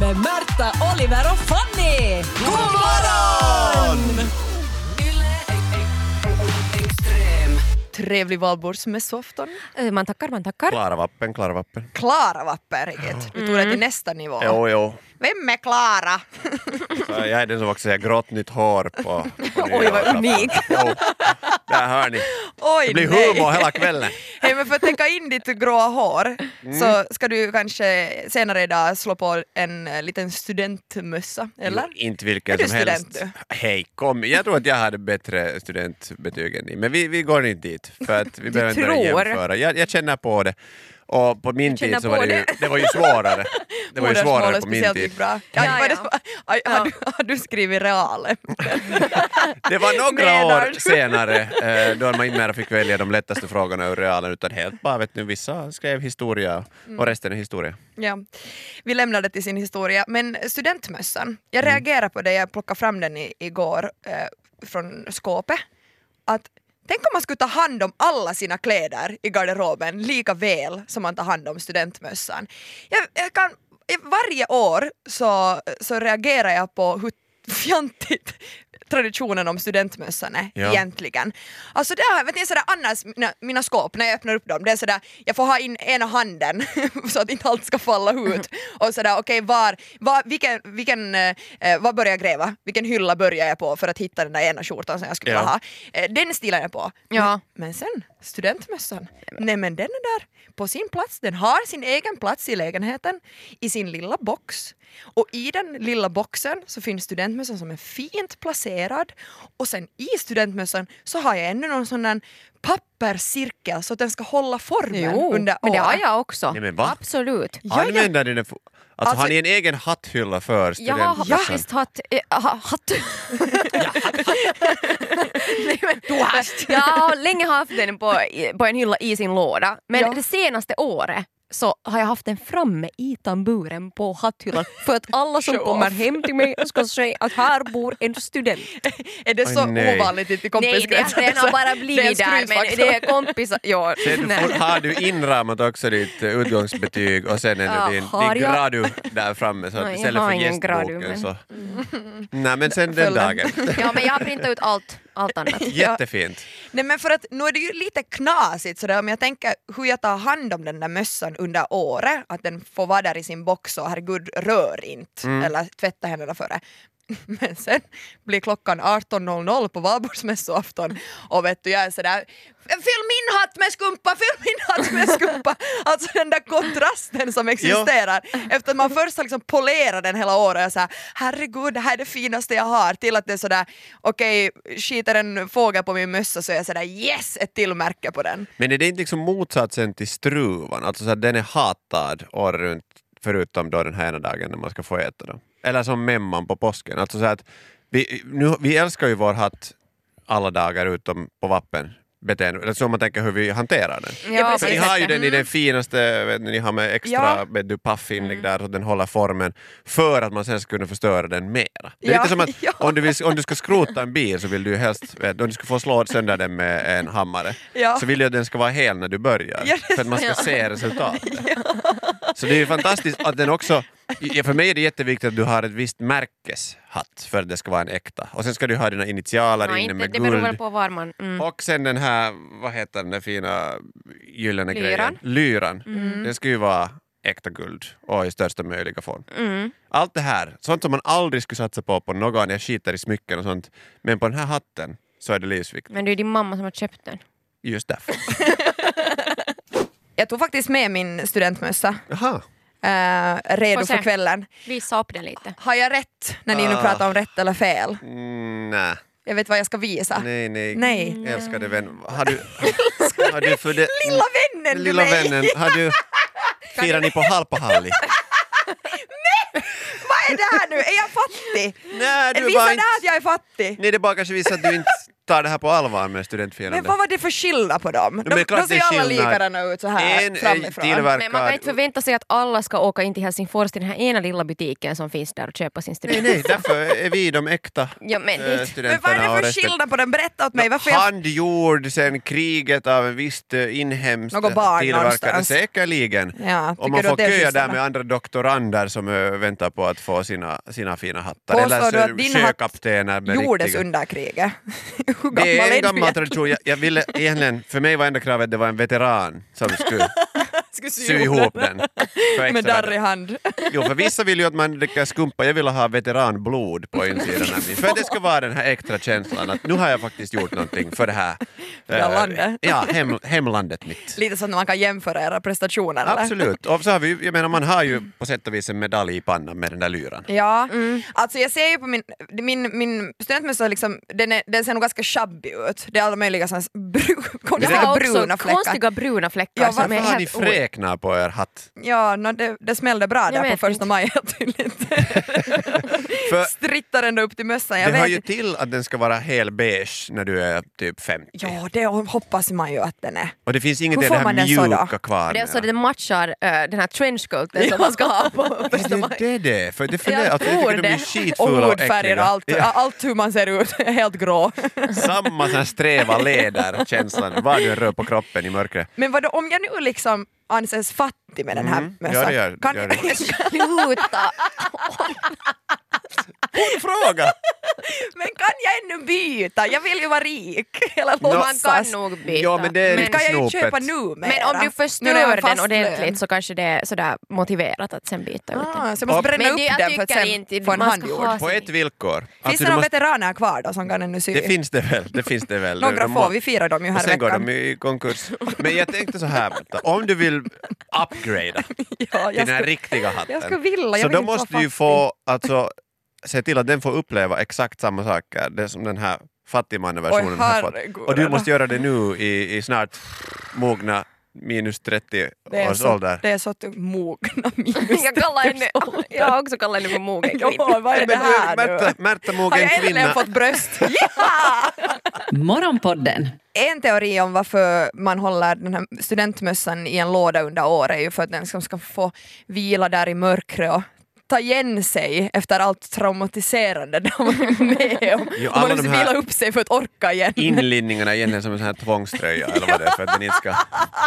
hälsa Oliver och Fanny! God morgon! Trevlig valborgsmässoafton. Eh, Man tackar, man tackar. Klara vappen, klara vappen. Klara Vapper, Riket. Du tog det Mm. till nästa nivå. Jo, jo. Vem är Klara? Jag är den som också säger grått nytt hår på, på Oj, vad nyårsafton. unik. Jo, där hör ni. Oj, Det blir nej. humor hela kvällen. Mm. Hej, men för att täcka in ditt gråa hår så ska du kanske senare idag slå på en eh, liten studentmössa, eller? Jo, inte Är vilken du som helst. student Hej, kom. Jag tror att jag hade bättre studentbetyg än ni, men vi, vi går inte dit. För att vi behöver inte börja tror? jämföra. Jag, jag känner på det. Och på min känner tid så på var det ju, det. det var ju svårare. Det var ju svårare Modersmålet på min speciellt tid. gick bra. Ja, var det ja. så- Aj, Har, du, har du skrivit realen? Det var några Menar du? år senare eh, då man inte mer fick välja de lättaste frågorna ur realen utan helt bara vet nu, vissa skrev historia Mm. och resten är historia. Ja. Vi lämnar det till sin historia. Men studentmössan, jag reagerar på det, jag plockade fram den i, igår eh, från skåpet. Att, tänk om man skulle ta hand om alla sina kläder i garderoben lika väl som man tar hand om studentmössan. Jag, jag kan, jag- varje år så, så reagerar jag på hur fjantigt traditionen om studentmössan är Ja. egentligen. Alltså det här, vet ni, sådär, annars mina, mina skåp när jag öppnar upp dem, det är sådär, jag får ha in ena handen så att inte allt ska falla ut. Och sådär, okej var, var, vilken, vilken, eh, eh, vad börjar jag gräva? Vilken hylla börjar jag på för att hitta den där ena skjortan som jag skulle Ja. vilja ha? Eh, den stilen är jag på. Ja. Men, men sen, studentmössan, nej men den är där på sin plats, den har sin egen plats i lägenheten, i sin lilla box. Och i den lilla boxen så finns studentmössan som är fint placerad och sen i studentmössan så har jag ännu någon sån där papperscirkel så att den ska hålla formen Jo, under men det har året. jag också. Nej, men va? Absolut. Ja, ja. Använder ni den? för- Alltså, Alltså- har ni en egen hatthylla för Jag har studentmössan? faktiskt haft... eh, ha- hatt. Nej, men- Du har haft. Jag har länge haft den på, på en hylla i sin låda, men Ja. det senaste året så har jag haft den framme i tamburen på hatthyllan för att alla som Show off. kommer hem till mig ska säga att här bor en student. Är det så Oj, nej. ovanligt i Nej, det, kompiskretsen? den har bara Det är en blivit där, men skrytfaktor. det är kompisar. Ja, Ser du, nej. fort- har du inramat också ditt eh, utgångsbetyg och sen är Ja, det din, har din jag? gradu där framme så Nej, jag istället har för ingen gradu, gästboken men- så... Nej men sen den Följden. dagen. Ja, men jag har printat ut allt, allt annat. Jättefint. Nej men för att nu är det ju lite knasigt sådär om jag tänker hur jag tar hand om den där mössan under året, att den får vara där i sin box och herregud rör inte eller tvätta händerna före. Men sen blir klockan 18.00 på valborgsmässoafton och vet du jag är sådär Fyll min hatt med skumpa, fyll min hatt med skumpa! Alltså den där kontrasten som existerar efter att man först har liksom polerat den hela året och såhär herregud det här är det finaste jag har till att det är sådär okej skiter en fågel på min mössa så är jag sådär yes ett till märke på den. Men är det inte liksom motsatsen till struvan? Alltså så att den är hatad året runt förutom då den här ena dagen när man ska få äta den. Eller som memman på påsken. Alltså så att vi, nu, vi älskar ju vår hatt alla dagar utom på vappen. Beteende. Eller så om man tänker hur vi hanterar den. Ja, För ni har ju den i den finaste, vet ni, ni har med extra Ja. med du paffinlägg där så den håller formen för att man sen ska kunna förstöra den mera. Det är Ja, lite som att ja. om, du vill, om du ska skrota en bil så vill du ju helst, vet, om du ska få slå sönder den med en hammare Ja. så vill du att den ska vara hel när du börjar Ja, det är för att man ska se resultatet. Så det är ju fantastiskt att den också ja, för mig är det jätteviktigt att du har ett visst märkeshatt för att det ska vara en äkta. Och sen ska du ha dina initialer Nej, inne inte, med det beror guld. väl på var man... Mm. Och sen den här, vad heter den där fina gyllene Lyran. grejen? Lyran. Mm. Den ska ju vara äkta guld och i största möjliga form. Mm. Allt det här, sånt som man aldrig skulle satsa på på någon, jag skiter i smycken och sånt, men på den här hatten så är det livsviktigt. Men det är din mamma som har köpt den. Just därför. Jag tog faktiskt med min studentmössa Jaha. eh, redo Får se. för kvällen. Visa upp den lite. Har jag rätt när ni nu Ah. pratar om rätt eller fel? Mm, nä. Jag vet vad jag ska visa. Nej, nej. Ah, Nej. Älskade vän. Har du... Har du för det... Lilla vännen du Lilla mig. vännen, har du... Firar ni på halpahalli? Vad är det här nu? Är jag fattig? Nej, Är du Visar var det inte... att jag är fattig? Nej, det bara kanske visar att du inte tar det här på allvar med studentfirande. Men vad var det för skillnad på dem? men De, de klart det ser är alla skillnad. likadana ut så här En är framifrån. tillverkad- Men man kan inte förvänta sig att alla ska åka in till Helsingfors till den här ena lilla butiken som finns där och köpa sin Nej, student. nej, därför är vi de äkta Ja, men eh, det- Men Men studenterna. vad är och det för resten- skillnad på dem? Berätta åt mig. Varför jag... Handgjord sen kriget av en visst eh, inhemskt Något barn tillverkare, någonstans. säkerligen. Ja, Och man tycker du får att det är köa schysst, där eller? med andra doktorander som eh, väntar på att få sina, sina fina hattar. Påstår du Eller att din hatt sjökaptener med Gjordes riktiga. under kriget. Hur gammal Det är en du gammal egentligen? tradition. Jag, jag ville egentligen, för mig var enda kravet att det var en veteran som skulle Skulle sy sy ihop den. För extra Med darr i värde. hand. Jo, för vissa vill ju att man dricker skumpa. Jag ville ha veteranblod på insidan av min. För att det ska vara den här extra känslan att nu har jag faktiskt gjort någonting för det här. det här eh, landet. Ja, hem, hemlandet mitt. Lite så att man kan jämföra era prestationer. eller? Absolut. Och så har vi, ju- jag menar, man har ju på sätt och vis en medalj i pannan med den där lyran. Ja, Mm. alltså jag ser ju på min, min, min studentmössa, liksom, den, är, den ser nog ganska shabby ut. Det är alla möjliga sådana bru, Jag konstiga har också bruna fläckar. konstiga bruna fläckar. Ja, som Varför är har ni helt o- fräknar på er hatt? Ja, no, det, det smällde bra där på vet första inte. maj helt tydligt. För Strittar ända upp till mössan. Jag det hör vet ju inte. till att den ska vara hel beige när du är typ 50. Ja, det hoppas man ju att den är. Och det finns inget Hur i det får här man den så då? mjuka kvar. Det är så mera. att den matchar eh, den här trenchcoaten som man ska ha på Är första det maj. det det är? För det för Jag det, alltså, jag tycker tror de är det. Och skitfula och, hudfärger och äckliga. allt, allt hur man ser ut, är helt grå. Samma sån här sträva leder känslan, vad du än rör på kroppen i mörkret. Men vadå, om jag nu liksom anses fattig med den här Mm, mössan, gör det, gör- kan, gör det. Sluta! Fråga! men kan jag ännu byta? Jag vill ju vara rik. Eller Nå, Man kan låtsas. nog byta. Ja, men det är men, riktigt kan jag ju snopet. köpa nu men om du Nu när jag har förstör fast den lön. ordentligt så kanske det är sådär motiverat att sen byta ut den. Ah, så jag måste Ja. bränna Men upp det- jag den för att tycker sen inte få en man ska handgjord. Alltså, ha- På ett villkor. Finns det Alltså, du några måste- veteraner kvar då som kan ännu sy? det finns det väl. Det finns det väl. Några De få, må- vi firar dem ju Och här i sen går veckan. de i konkurs. Men jag tänkte så här, vänta. om du vill upgrada ja, till jag, den här skulle, riktiga hatten. jag skulle vilja, jag så vill då inte vara måste du ju fattig. få, alltså, se till att den får uppleva exakt samma saker det som den här Oj fattigmanneversionen har fått. herregud. Och du måste göra det nu i, i snart mogna minus 30 det är års så, ålder. det är så att mogna minus Jag, kallar henne, 30 års typ jag har också kallat henne för mogen Ja, kvinna. vad är det Men här du, nu? Märta, Märta Har Mogen jag äntligen kvinna. fått bröst? Ja! Morgonpodden En teori om varför man håller den här studentmössan i en låda under året är ju för att den liksom ska få vila där i mörkret och ta igen sig efter allt traumatiserande de var med om. Jo, Och man alla måste de här- vila upp sig för att orka igen. Inlinningarna är egentligen som en sån här tvångströja eller vad det är för att den inte ska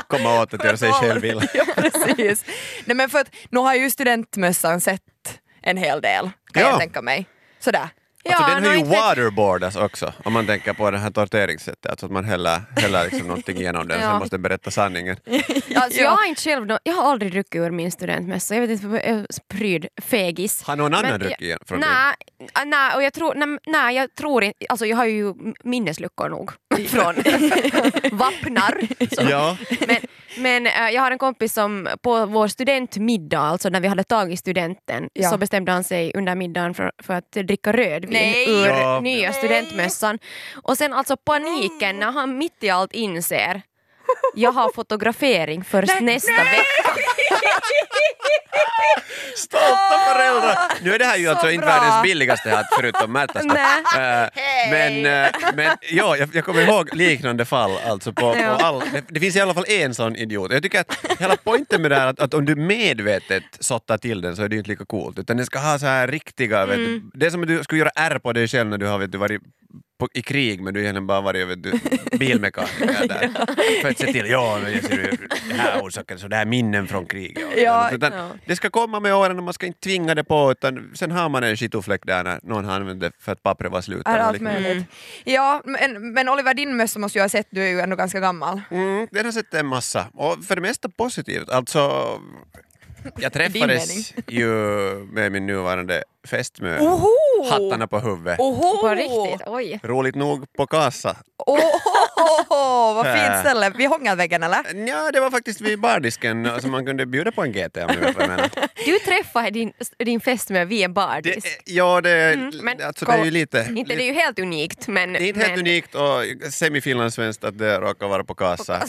komma åt att göra sig själv illa. Ja, precis. Nej, men för att nu har ju studentmössan sett en hel del, kan Ja. jag tänka mig. Sådär. Alltså den har ju inte vet- waterboardas också om man tänker på det här torteringssättet, alltså att man häller, häller liksom någonting genom den och sen Ja. måste den berätta sanningen. Alltså, Ja. jag, har inte själv, nå- jag har aldrig druckit ur min studentmössa. Jag vet inte, jag är pryd, fegis. Har någon annan jag- druckit igen från din? Nej, ah, nej, och jag tror, nej, nej, jag tror inte, alltså jag har ju m- minnesluckor nog från Vapnar. Så. Ja, Men, men eh, jag har en kompis som på vår studentmiddag, alltså när vi hade tagit studenten, Ja. så bestämde han sig under middagen för, för att dricka rödvin Nej! ur Ja. nya studentmössan. Och sen alltså paniken när han mitt i allt inser jag har fotografering först nästa vecka. stolta föräldrar! Nu är det här ju Så alltså inte bra. världens billigaste hatt förutom Märtas hatt. Nej. Eh, Men, eh, men ja, jag, jag kommer ihåg liknande fall. Alltså på, på Ja. all, det, det finns i alla fall en sån idiot. Jag tycker att hela poängen med det här är att, att om du medvetet sottar till den så är det ju inte lika coolt. Utan den ska ha så här riktiga... Vet du, det är som att du skulle göra ärr på dig själv när du har vet du, varit på, i krig men du har egentligen bara varit vet du, bilmekaniker där. För att se till, ja, men jag ser ju den här orsaken, så det här minnen från kriget. och Ja, sånt. utan, ja. Det ska komma med åren och man ska inte tvinga det på utan sen har man en skitofläck där när någon har använt det för att pappret var slut. Är eller liksom. allt liknande. möjligt. Mm. Ja, men, men Oliver, din mössa måste jag ha sett, du är ju ändå ganska gammal. Mm, den har sett en massa. Och för det mesta positivt. Alltså, jag träffades ju med min nuvarande fästmö. Oho! Hattarna på huvudet. Oho! På riktigt, oj. Roligt nog på Kasa. Oho, vad fint Äh. ställe. Vid Hångaväggen eller? Ja, det var faktiskt vid bardisken, alltså man kunde bjuda på en GT om du vet vad jag menar. Du träffade din, din fästmö via Det, bardisk. ja, det, Mm, men alltså, det är ju lite... Inte det är ju helt unikt men... Det är inte helt men, unikt och semifinlandssvenskt att det råkar vara på Kasa.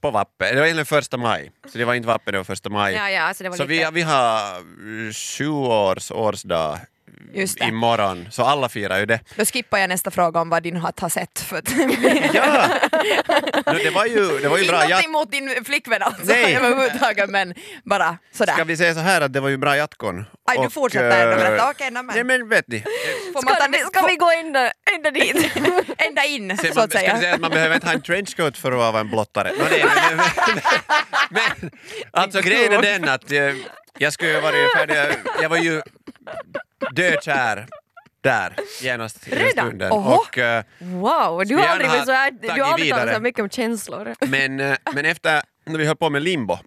På Vappe. Det var egentligen första maj, så det var inte Vappe, det var första maj. Ja, ja, alltså det var Så lite... vi, vi har sju års eh, årsdag Just det. imorgon. Så alla firar ju det. Då skippar jag nästa fråga om vad din hatt har sett. För att Ja! No, det, var ju, det var ju bra. Inget Jag, emot din flickvän alltså Nej. överhuvudtaget men bara sådär. ska vi säga så här att det var ju bra jatkon. Aj, du Och, fortsätter ändå eh, berätta. Okej, nämen. Nej men vet ni, Får man Ska, ta, vi- ska vi gå ända, ända dit? få- ända in Sen så man, att ska vi säga? säga att man behöver inte ha en trenchcoat för att vara en blottare? Nå, nej, men, men, men alltså grejen är den att jag, jag skulle ju vara ungefär, jag, jag var ju dökär där genast i den Redan? stunden. Oho. Och, eh, Wow, du vi har gärna aldrig, ha varit så här, du tagit har aldrig talat vidare? så här mycket om känslor. men, eh, men efter när vi höll på med limbo,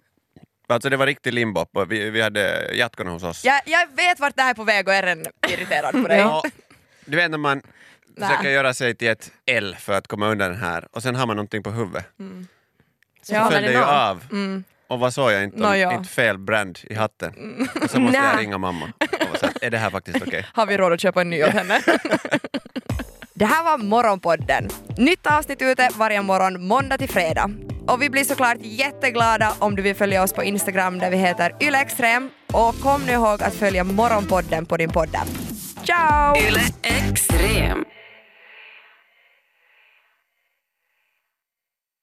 alltså det var riktig limbo, och vi, vi hade jatkon hos oss. Jag, jag vet vart det här är på väg och är redan irriterad på dig. Ja, du vet när man Nä. försöker göra sig till ett L för att komma undan den här och sen har man någonting på huvudet. Så Ja, föll faller det ju den av. av. Och vad sa jag? Inte, om, Nå, ja. inte fel brand i hatten. Och så måste jag Nä. ringa mamma och vara så här, är det här faktiskt okej? Har vi råd att köpa en ny åt henne? Det här var Morgonpodden. Nytt avsnitt ute varje morgon måndag till fredag. Och vi blir såklart jätteglada om du vill följa oss på Instagram där vi heter ylextrem. Och kom nu ihåg att följa Morgonpodden på din poddapp. Ciao! Yle Extrem.